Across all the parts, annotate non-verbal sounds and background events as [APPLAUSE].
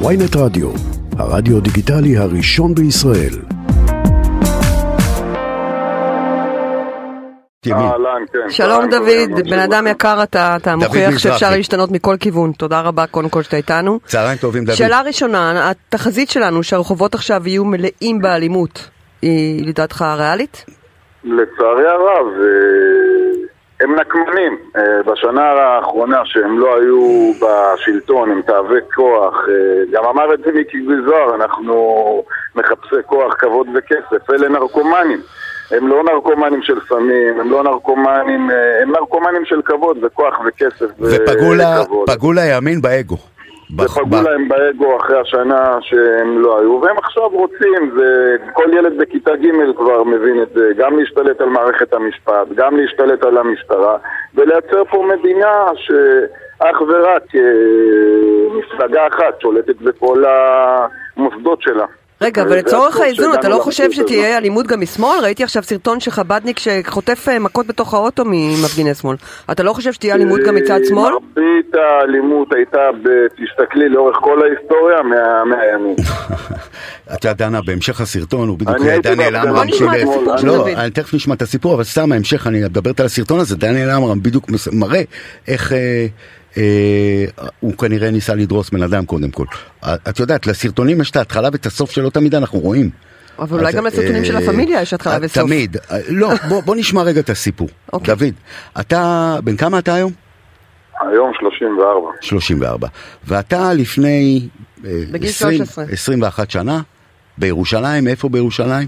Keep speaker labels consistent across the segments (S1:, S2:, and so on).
S1: ויינט רדיו, הרדיו דיגיטלי הראשון בישראל.
S2: אהלן, כן.
S3: שלום
S2: צהריים טובים,
S3: דוד,
S2: אדוני.
S3: בן אדם יקר אתה, אתה מוכיח שאפשר
S4: מזרחי.
S3: להשתנות מכל כיוון, תודה רבה קודם כל שאתה איתנו.
S4: צהריים טובים, דוד.
S3: שאלה ראשונה, התחזית שלנו שהרחובות עכשיו יהיו מלאים באלימות, היא לדעתך ריאלית?
S2: לצערי הרב, אה, הם נקמנים. אה, בשנה האחרונה שהם לא היו בשלטון עם תאבי כוח, אה, גם אמר את זה מיקי גזר, אנחנו מחפשי כוח, כבוד וכסף, אלה נרקומנים. הם לא נרקומנים של סמים, הם לא נרקומנים, אה, הם נרקומנים של כבוד וכוח וכסף
S4: ופגעו לה-
S2: וכבוד.
S4: פגעו לימין באגו.
S2: ופגעו
S4: ב-
S2: להם באגו אחרי השנה שהם לא היו, והם עכשיו רוצים, זה, כל ילד בכיתה ג' כבר מבין את זה, גם להשתלט על מערכת המשפט, גם להשתלט על המשטרה, ולייצר פה מדינה שאך ורק אה, מפלגה אחת שולטת בכל המוסדות שלה.
S3: רגע, אבל
S2: וזה
S3: לצורך
S2: אבסורד
S3: האיזון, אתה
S2: שהגענו
S3: לא חושב
S2: למציאות הזאת.
S3: שתהיה אלימות גם משמאל? ראיתי עכשיו סרטון של חבדניק שחוטף אה, מכות בתוך האוטו ממפגיני שמאל. אתה לא חושב שתהיה אלימות גם מצד
S2: אה,
S3: שמאל?
S2: מרבית האלימות הייתה, ב- תסתכלי, לאורך כל ההיסטוריה, מה- מהימין.
S4: אתה דנה, בהמשך הסרטון, הוא בדיוק
S2: אני הייתי
S4: דניאל
S2: בהפגנה
S4: עמרם
S3: בוא נשמע את
S4: שולל.
S3: הסיפור של דוד.
S4: לא, אני תכף נשמע את הסיפור, אבל סתם ההמשך, אני מדברת על הסרטון הזה, דניאל עמרם בדיוק מס- מראה איך... אה, אה, הוא כנראה ניסה לדרוס בן אדם קודם כל. את יודעת, לסרטונים יש את ההתחלה ואת הסוף שלא תמיד אנחנו רואים.
S3: אבל אולי
S4: אז,
S3: גם לסרטונים
S4: אה,
S3: של הפמיליה יש
S4: אה,
S3: התחלה וסוף.
S4: תמיד. אה, לא, בוא- בוא נשמע רגע את הסיפור.
S3: אוקיי.
S4: דוד, אתה, בן כמה אתה היום?
S2: היום 34.
S4: 34. ואתה לפני... אה,
S3: בגיל
S4: 20,
S3: 13.
S4: 21 שנה, בירושלים, איפה בירושלים?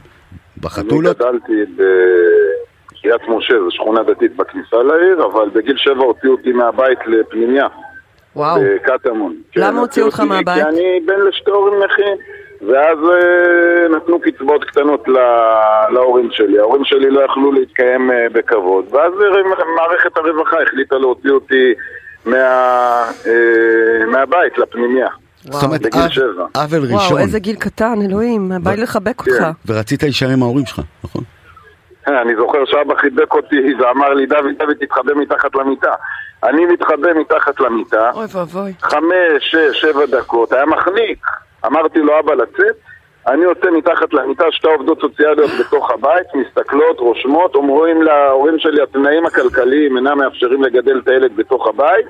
S4: בחתולות?
S2: אני גדלתי בקריית משה, זו שכונה דתית בכניסה לעיר, אבל בגיל שבע הוציאו אותי מהבית לפנימיה,
S3: וואו.
S2: בקטמון. כן,
S3: למה הוציאו אותך
S2: הוציאו אותי
S3: מהבית?
S2: כי אני בן לשתי הורים נכים, ואז אה, נתנו קצבאות קטנות ל- להורים שלי. ההורים שלי לא יכלו להתקיים אה, בכבוד, ואז אה, מערכת הרווחה החליטה להוציא אותי מה- אה, מהבית לפנימיה.
S4: זאת אומרת,
S2: בגיל
S3: אה,
S4: עו-
S2: שבע.
S4: עוול
S3: וואו,
S4: ראשון. אה,
S3: איזה גיל קטן, אלוהים, בא לי לחבק אותך.
S2: כן.
S4: ורצית להישאר עם ההורים שלך, נכון?
S2: אני זוכר שאבא חיבק אותי ואמר לי, דוד, דוד, תתחבא מתחת למיטה. אני מתחבא מתחת למיטה,
S3: אוי ואבוי.
S2: חמש, שש, שבע דקות, היה מחניק. אמרתי לו, אבא, לצאת? אני יוצא מתחת למיטה, שתי עובדות סוציאליות בתוך הבית, מסתכלות, רושמות, אומרים להורים שלי, התנאים הכלכליים אינם מאפשרים לגדל את הילד בתוך הבית,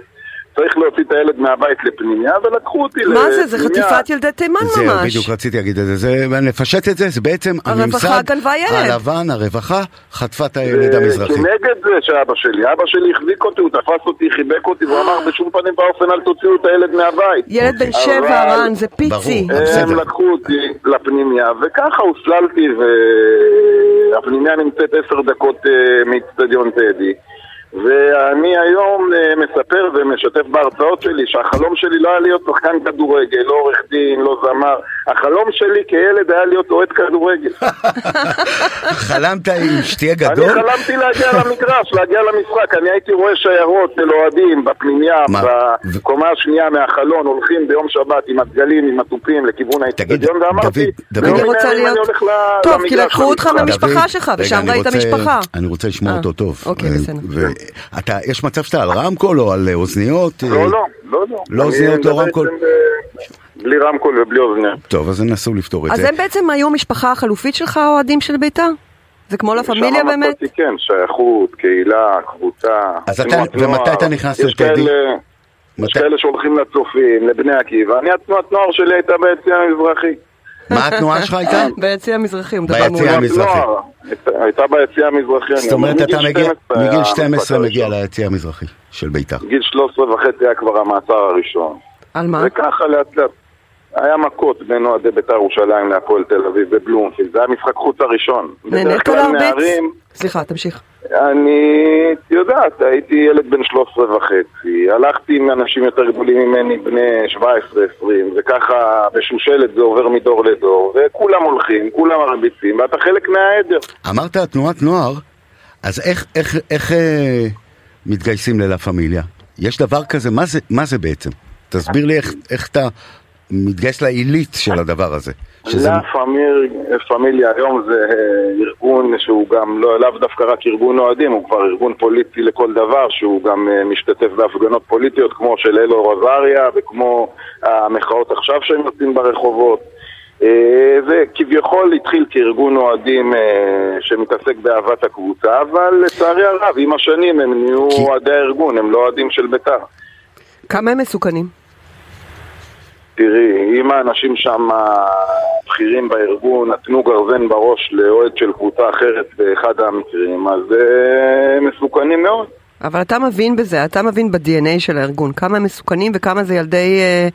S2: צריך להוציא את הילד מהבית לפנימיה, ולקחו אותי
S3: מה זה, זה חטיפת ילדי תימן
S4: זהו,
S3: ממש.
S4: בדיוק רציתי להגיד את זה. זה. לפשט את זה, זה בעצם
S3: הרווחה
S4: הממסד
S3: גנבה ילד.
S4: הלבן, הרווחה, חטפה
S2: אה,
S4: את הילד המזרחי.
S2: כנגד זה שאבא שלי, אבא שלי החזיק אותי, הוא תפס אותי, חיבק אותי, והוא אמר בשום פנים ואופן אל תוציאו את הילד מהבית.
S3: ילד בן
S2: אוקיי.
S3: שבע,
S2: אבל- אה,
S3: רן, זה פיצי.
S4: ברור. בסדר.
S2: הם לקחו אותי לפנימיה, וככה הוסללתי, והפנימיה נמצאת עשר דקות אה, מאיצטדיון טדי. ואני היום אה, מספר ומשתף בהרצאות שלי שהחלום שלי לא היה להיות שחקן כדורגל, לא עורך דין, לא זמר. החלום שלי כילד היה להיות אוהד כדורגל.
S4: חלמת
S2: [LAUGHS]
S4: עם שתהיה
S2: אני
S4: גדול?
S2: חלמתי להגיע למגרש, להגיע למשחק. אני הייתי רואה שיירות של אוהדים בפנימיה,
S4: מה?
S2: בקומה השנייה מהחלון, הולכים ביום שבת עם הדגלים, עם התופים, לכיוון האצטדיון, ואמרתי,
S4: דוד, דוד.
S2: "לא
S3: אני
S2: מן
S3: רוצה
S2: הימים
S3: להיות...
S2: אני הולך ל-
S3: טוב,
S2: למגרש
S3: כי לקחו אותך
S2: למשחק".
S3: מהמשפחה
S4: דוד,
S3: שלך,
S4: רגע,
S3: ושם
S4: אני
S3: ראית
S4: רוצה-
S3: משפחה.
S4: אני רוצה לשמוע
S3: אה,
S4: אותו טוב.
S3: אוקיי,
S4: אה,
S3: בסדר.
S4: ואתה, יש מצב שאתה על רמקול או על אה, אוזניות? אה,
S2: לא, לא, לא, לא. אני
S4: לא אוזניות, לא
S2: מדבר
S4: רמקול.
S2: איתם ב- בלי רמקול ובלי אוזניות.
S4: טוב, אז ינסו לפתור את
S3: אז
S4: זה.
S3: הם בעצם היו משפחה החלופית שלך, האוהדים של בית"ר? זה כמו לה פמיליה
S2: שם
S3: באמת?
S2: מצאתי, כן, שייכות, קהילה, קבוצה,
S4: אז אתה-
S2: תנועת
S4: ומתי
S2: נוער.
S4: אתה נכנס
S2: יש
S4: לטדי?
S2: כאלה- יש
S4: מתי-
S2: כאלה שהולכים לצופים, לבני עקיבא. אני, התנועת נוער שלי הייתה ביציע המזרחי.
S4: מה התנועה שלך הייתה?
S3: כן,
S2: כן,
S3: ביציע המזרחי, הוא
S4: ביציע
S3: מדבר מעולה.
S4: המזרחי.
S2: נוער. הייתה- לא, הייתה ביציע המזרחי. כן, אני
S4: זאת אומרת,
S2: אומר,
S4: אתה
S2: מגיל אה, 12
S4: מגיע,
S2: היה
S4: מגיל 12
S2: המשחק
S4: מגיע
S2: הראשון.
S4: ליציע המזרחי של בית"ר.
S2: גיל 13 וחצי היה כבר המעצר הראשון.
S3: על מה?
S2: וככה לאט לאט. היה מכות בין אוהדי בית"ר ירושלים להפועל תל אביב בבלומפילד. זה היה משחק חוץ הראשון. בדרך
S3: נהנית
S2: כלל
S3: להרביץ?
S2: נערים,
S3: סליחה, תמשיך.
S2: אני, את יודעת, הייתי ילד בן 13 וחצי, הלכתי עם אנשים יותר גדולים ממני, בני 17-20, וככה בשושלת זה עובר מדור לדור, וכולם הולכים, כולם מרביצים, ואתה חלק מהעדר.
S4: אמרת תנועת נוער, אז איך, איך, איך אה, מתגייסים ללה פמיליה? יש דבר כזה, מה זה, מה זה בעצם? תסביר לי איך, איך אתה מתגייס לעילית של הדבר הזה. שזה
S2: לה פמיר, פמיליה היום זה אה, ארגון שהוא גם לא, לאו דווקא רק ארגון אוהדים, הוא כבר ארגון פוליטי לכל דבר, שהוא גם אה, משתתף בהפגנות פוליטיות כמו של אלו רזריה וכמו המחאות עכשיו שהם יוצאים ברחובות. אה, זה כביכול התחיל כארגון אוהדים אה, שמתעסק באהבת הקבוצה, אבל לצערי הרב, עם השנים הם נהיו
S4: כי-
S2: אוהדי הארגון, הם לא אוהדים של בית"ר.
S3: כמה הם מסוכנים?
S2: תראי, אם האנשים שם, הבכירים בארגון, נתנו גרזן בראש לאוהד של קבוצה אחרת באחד המקרים, אז אה, מסוכנים מאוד.
S3: אבל אתה מבין בזה, אתה מבין ב-DNA של הארגון, כמה הם מסוכנים וכמה זה ילדי אה,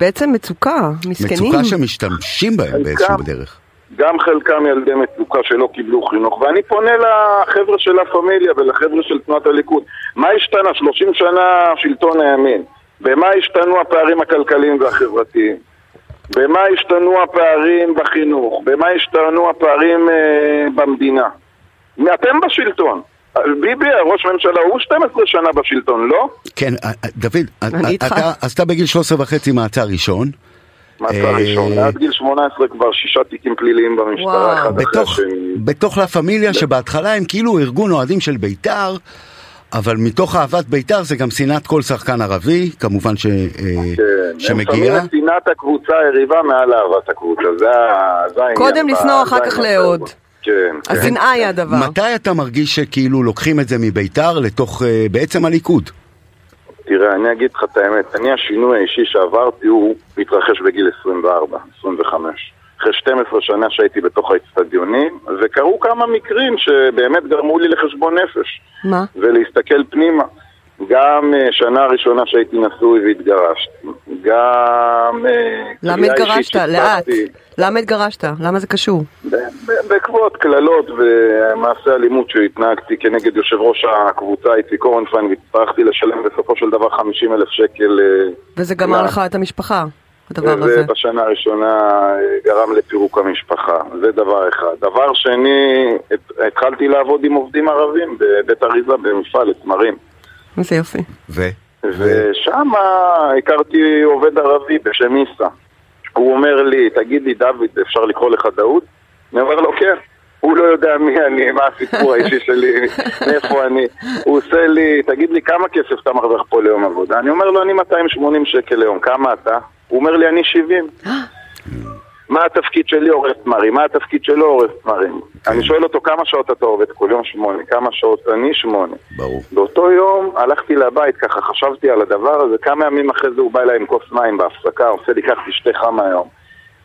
S3: בעצם מצוקה, מסכנים.
S4: מצוקה שמשתמשים בהם באיזשהו
S2: חלקם.
S4: דרך.
S2: גם חלקם ילדי מצוקה שלא קיבלו חינוך, ואני פונה לחבר'ה של לה פמיליה ולחבר'ה של תנועת הליכוד. מה השתנה? 30 שנה שלטון הימין. במה השתנו הפערים הכלכליים והחברתיים? במה השתנו הפערים בחינוך? במה השתנו הפערים אה, במדינה? אתם בשלטון. אה, ביבי, ראש ממשלה, הוא 12 שנה בשלטון, לא?
S4: כן, אה, אה, דוד, אה,
S3: אני
S4: אה,
S3: איתך.
S4: אתה- אז אתה בגיל 13 וחצי מעצר ראשון.
S2: מעצר ראשון.
S4: אה.
S2: עד גיל 18 כבר שישה תיקים פליליים
S3: וואו.
S2: במשטרה, אחד אחרי
S4: בתוך,
S2: השני.
S4: בתוך לה פמיליה שבהתחלה הם כאילו ארגון אוהדים של בית"ר, אבל מתוך אהבת בית"ר זה גם שנאת כל שחקן ערבי, כמובן ש, אה,
S2: כן, הם שמים
S4: שמגיע.
S2: את שנאת הקבוצה היריבה מעל אהבת הקבוצה, זה ה- זה העניין.
S3: קודם לשנוא, אחר
S2: זה
S3: כך
S2: העניין.
S3: לאהוד.
S2: כן, כן.
S3: השנאה היא הדבר.
S4: מתי אתה מרגיש שכאילו לוקחים את זה מבית"ר לתוך אה, בעצם הליכוד?
S2: תראה, אני אגיד לך את האמת, אני השינוי האישי שעברתי הוא התרחש בגיל 24, 25. אחרי 12 שנה שהייתי בתוך האצטדיונים, וקרו כמה מקרים שבאמת גרמו לי לחשבון נפש.
S3: מה?
S2: ולהסתכל פנימה. גם אה, שנה ראשונה שהייתי נשוי והתגרשתי. גם... אה,
S3: למה
S2: קריאה אישית
S3: התגרשת? לאט.
S2: שקיבלתי.
S3: למה התגרשת? למה זה קשור?
S2: ב- בעקבות קללות ומעשי אלימות שהתנהגתי כנגד יושב ראש הקבוצה איציק אורנפיין והצטרכתי לשלם בסופו של דבר 50 אלף שקל אה,
S3: וזה גמר
S2: מה?
S3: לך את המשפחה, הדבר הזה.
S2: וזה בשנה הראשונה אה, גרם לפירוק המשפחה, זה דבר אחד. דבר שני, הת- התחלתי לעבוד עם עובדים ערבים בבית אריזה במפעל לתמרים
S3: איזה יופי.
S4: ו?
S2: ושם הכרתי עובד ערבי בשם עיסא. הוא אומר לי, תגיד לי, דוד, אפשר לקרוא לך דאוד? אני אומר לו, כן. הוא לא יודע מי אני, מה הסיפור האישי שלי, מאיפה אני. הוא עושה לי, תגיד לי, כמה כסף אתה מרוויח פה ליום עבודה? אני אומר לו, אני 280 שקל ליום, כמה אתה? הוא אומר לי, אני 70. מה התפקיד שלי עורף תמרים? מה התפקיד שלו עורף תמרים? אני שואל אותו, כמה שעות אתה עובד כל יום? שמונה. כמה שעות? אני שמונה.
S4: ברור.
S2: באותו יום הלכתי לבית, ככה חשבתי על הדבר הזה, כמה ימים אחרי זה הוא בא אליי עם כוס מים בהפסקה, עושה לי כך תשתה חם היום.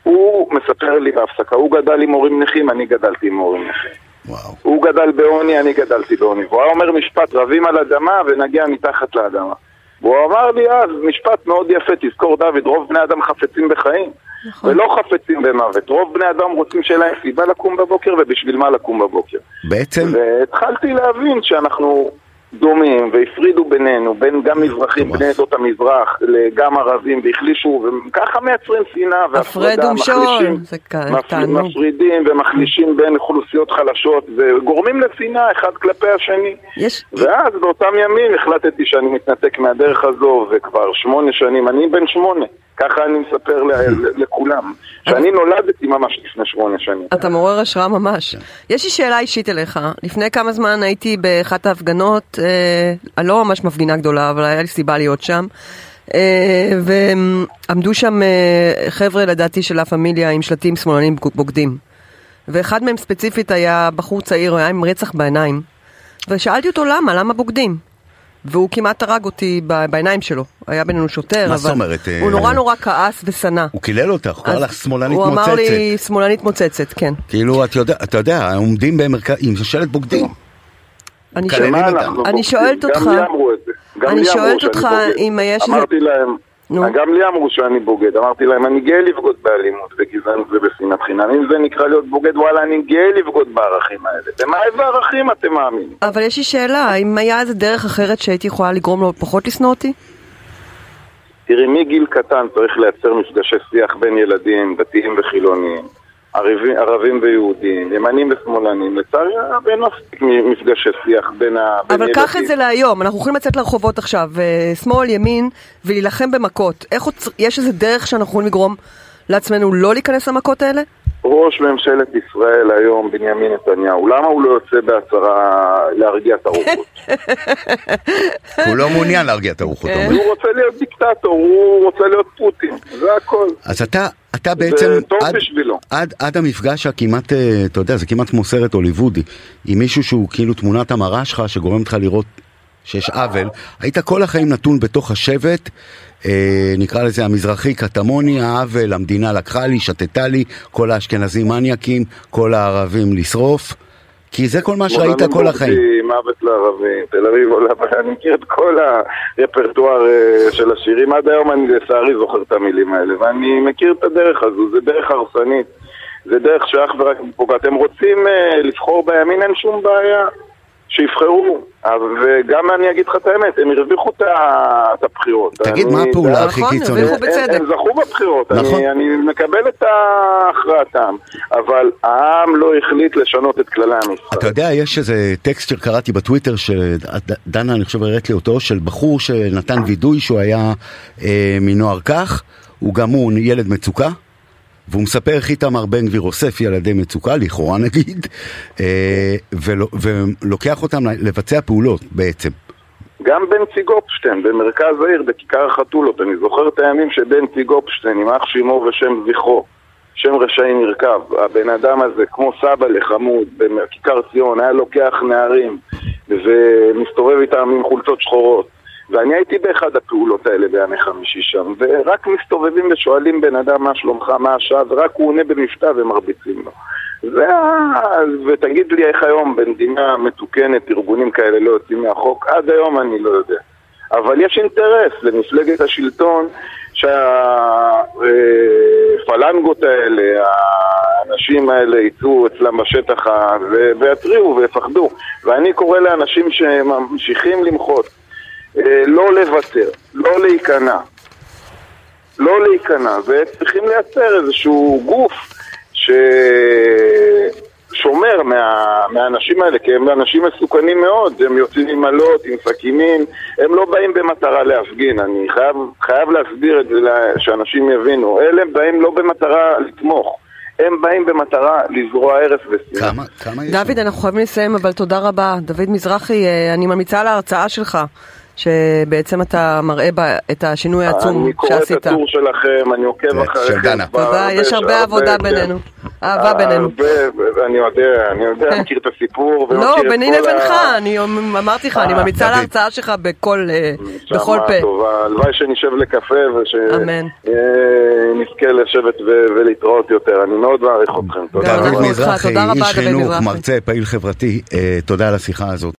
S2: הוא מספר לי בהפסקה, הוא גדל עם הורים נכים, אני גדלתי עם הורים נכים.
S4: וואו.
S2: הוא גדל בעוני, אני גדלתי בעוני. והוא היה אומר משפט, רבים על אדמה ונגיע מתחת לאדמה. והוא אמר לי אז, משפט מאוד יפה, תזכור דוד, רוב בני אדם חפצים בחיים.
S3: נכון.
S2: ולא חפצים במוות. רוב בני אדם רוצים שיהיה להם סיבה לקום בבוקר ובשביל מה לקום בבוקר.
S4: בעצם,
S2: והתחלתי להבין שאנחנו דומים והפרידו בינינו, בין גם מזרחים,
S4: מטורף.
S2: בני עדות המזרח, גם ערבים, והחלישו, וככה מייצרים שנאה והפרדה,
S3: הפרד ומשול,
S2: מחלישים,
S3: זה כ-
S2: מפ-
S3: תענוג.
S2: מפרידים ומחלישים בין אוכלוסיות חלשות, וגורמים לשנאה אחד כלפי השני.
S3: יש...
S2: ואז באותם ימים החלטתי שאני מתנתק מהדרך הזו, וכבר שמונה שנים, אני בן שמונה, ככה אני מספר ל-
S3: [LAUGHS]
S2: לכולם, שאני נולדתי ממש לפני שמונה שנים.
S3: אתה מעורר השראה ממש.
S4: כן.
S3: יש לי שאלה אישית אליך. לפני כמה זמן הייתי באחת ההפגנות, אה, אני לא ממש מפגינה גדולה, אבל היה לי סיבה להיות שם. אה, ועמדו שם אה, חבר'ה, לדעתי, של לה פמיליה עם שלטים שמאלנים בוגדים. ואחד מהם ספציפית היה בחור צעיר, היה עם רצח בעיניים. ושאלתי אותו למה, למה בוגדים? והוא כמעט הרג אותי ב- בעיניים שלו. היה בינינו שוטר,
S4: מה
S3: אבל...
S4: זאת אומרת, אה,
S3: הוא נורא נורא כעס ושנא.
S4: הוא קילל אותך, הוא קרא
S3: אז
S4: לך שמאלנית
S3: הוא אמר
S4: מוצצת.
S3: לי שמאלנית מוצצת, כן.
S4: כאילו, את יודע- אתה יודע, עומדים במרכז, עם שלט
S3: [LAUGHS]
S4: בוגדים.
S3: אני
S4: כאלה
S3: שואל-
S4: מה
S2: אוקיי. מה
S4: אנחנו
S2: אנחנו
S3: אני שואלת אותך-
S2: גם לי אמרו את זה. גם
S3: אני
S2: לי אמרו
S3: שואלת
S2: שאני
S3: אותך
S2: בוגד.
S3: אם יש איזה-
S2: אמרתי להם,
S3: נו.
S2: גם לי אמרו שאני בוגד. אמרתי להם, אני גאה לבגוד באלימות, בגזענות ובשנאת חינם. אם זה נקרא להיות בוגד, וואלה, אני גאה לבגוד בערכים האלה. במה איזה ערכים אתם מאמינים?
S3: אבל יש לי שאלה, אם היה איזה דרך אחרת שהייתי יכולה לגרום לו פחות לשנוא אותי?
S2: תראי, מגיל קטן צריך לייצר מפגשי שיח בין ילדים, דתיים וחילוניים. ערבים, ערבים ויהודים, ימנים ושמאלנים, לצערי הרב אין מספיק מפגשי שיח בין ה... בין
S3: אבל קח
S2: ילדים.
S3: את זה להיום, אנחנו יכולים לצאת לרחובות עכשיו, אה, שמאל, ימין, ולהילחם במכות. איך עוד צר- יש איזה דרך שאנחנו יכולים לגרום לעצמנו לא להיכנס למכות האלה?
S2: ראש ממשלת ישראל היום, בנימין נתניהו, למה הוא לא יוצא בהצהרה להרגיע את הרוחות?
S4: הוא לא מעוניין להרגיע את הרוחות. אתה אומר.
S2: הוא רוצה להיות דיקטטור, הוא רוצה להיות פוטין, זה הכל.
S4: אז אתה, אתה בעצם,
S2: טוב בשבילו.
S4: עד, עד המפגש הכמעט, אה, אתה יודע, זה כמעט כמו סרט הוליוודי, עם מישהו שהוא כאילו תמונת המראה שלך, שגורם לך לראות שיש עוול, היית כל החיים נתון בתוך השבט, אה, נקרא לזה המזרחי קטמוני, העוול, המדינה לקחה לי, שתתה לי, כל האשכנזים מניאקים, כל הערבים לשרוף, כי זה כל מה שראית
S2: שמאלנים
S4: כל החיים.
S2: בוגדים, מוות לערבים, תל אביב עולה, [LAUGHS] אבל אני מכיר את כל הרפרטואר אה, של השירים, עד היום אני לצערי זוכר את המילים האלה, ואני מכיר את הדרך הזו, זה דרך הרסנית, זה דרך שאך ורק פוגעת. הם רוצים אה, לבחור בימין, אין שום בעיה, שיבחרו, אבל- וגם אני אגיד לך את האמת, הם הרוויחו את ה- את הבחירות.
S4: תגיד,
S2: אני-
S4: מה הפעולה הכי
S3: נכון,
S4: קיצונית?
S3: הרוויחו בצדק.
S2: הם זכו בבחירות,
S4: נכון.
S2: אני, אני מקבל את הכרעתם, אבל העם לא החליט לשנות את כללי המשחק.
S4: אתה יודע, יש איזה טקסט שקראתי בטוויטר, שדנה, אני חושב, הראית לי אותו, של בחור שנתן וידוי שהוא היה אה, מנוער כך, הוא גם הוא ילד מצוקה, והוא מספר איך איתמר בן גביר אוסף ילדי מצוקה, לכאורה נגיד, אה, ולו- ולוקח אותם לבצע פעולות בעצם.
S2: גם בנצי גופשטיין, במרכז העיר, בכיכר החתולות. אני זוכר את הימים שבנצי גופשטיין, עם אח שמו ושם זכרו, שם רשעי נרקב, הבן אדם הזה, כמו סבא לחמוד, בכיכר ציון, היה לוקח נערים ומסתובב איתם עם חולצות שחורות. ואני הייתי באחד הפעולות האלה בימי חמישי שם, ורק מסתובבים ושואלים בן אדם מה שלומך, מה השעה, ורק הוא עונה במבטא ומרביצים לו. זה ה... ותגיד לי איך היום במדינה מתוקנת ארגונים כאלה לא יוצאים מהחוק, עד היום אני לא יודע. אבל יש אינטרס למפלגת השלטון שהפלנגות האלה, האנשים האלה יצאו אצלם בשטח ה- ו- ויתריעו ויפחדו. ואני קורא לאנשים שממשיכים למחות אה, לא לוותר, לא להיכנע. לא להיכנע, וצריכים לייצר איזשהו גוף ששומר מה... מהאנשים האלה, כי הם אנשים מסוכנים מאוד, הם יוצאים עם אלות, עם סכינים, הם לא באים במטרה להפגין, אני חייב, חייב להסביר את זה, לה- שאנשים יבינו, אלה באים לא במטרה לתמוך, הם באים במטרה לזרוע הרס ושנאה.
S4: כמה, כמה יש?
S3: דוד,
S4: שם?
S3: אנחנו חייבים לסיים, אבל תודה רבה. דוד מזרחי, אה, אני ממליצה על ההרצאה שלך, שבעצם אתה מראה בה את השינוי העצום
S2: אני קורא את
S3: שעשית.
S2: הטור שלכם, אני עוקב
S4: כן, של
S2: אחריכם.
S4: דנה.
S2: כבר
S3: תודה, יש הרבה עבודה
S2: כן.
S3: בינינו. אהבה בינינו.
S2: הרבה, אה, אני יודע, אני
S3: [LAUGHS]
S2: יודע, מכיר את הסיפור.
S3: לא,
S2: ומכיר את
S3: ביני
S2: כל ה-
S3: לבינך, אני אומ- אמרתי לך, אני
S2: אה,
S3: ממליצה על
S4: דוד.
S3: ההרצאה שלך בכל אה,
S2: נשמה
S3: בכל פה.
S2: טובה. הלוואי שנשב לקפה
S3: אמן.
S2: ושנזכה לשבת ו- ולהתראות יותר. אני מאוד מעריך אתכם. תודה.
S3: גם
S4: דוד
S3: אנחנו אותך,
S4: מזרחי,
S3: תודה רבה,
S4: איש
S3: דוד
S4: חינוך,
S3: מזרחי.
S4: מרצה, פעיל חברתי, אה, תודה על השיחה הזאת.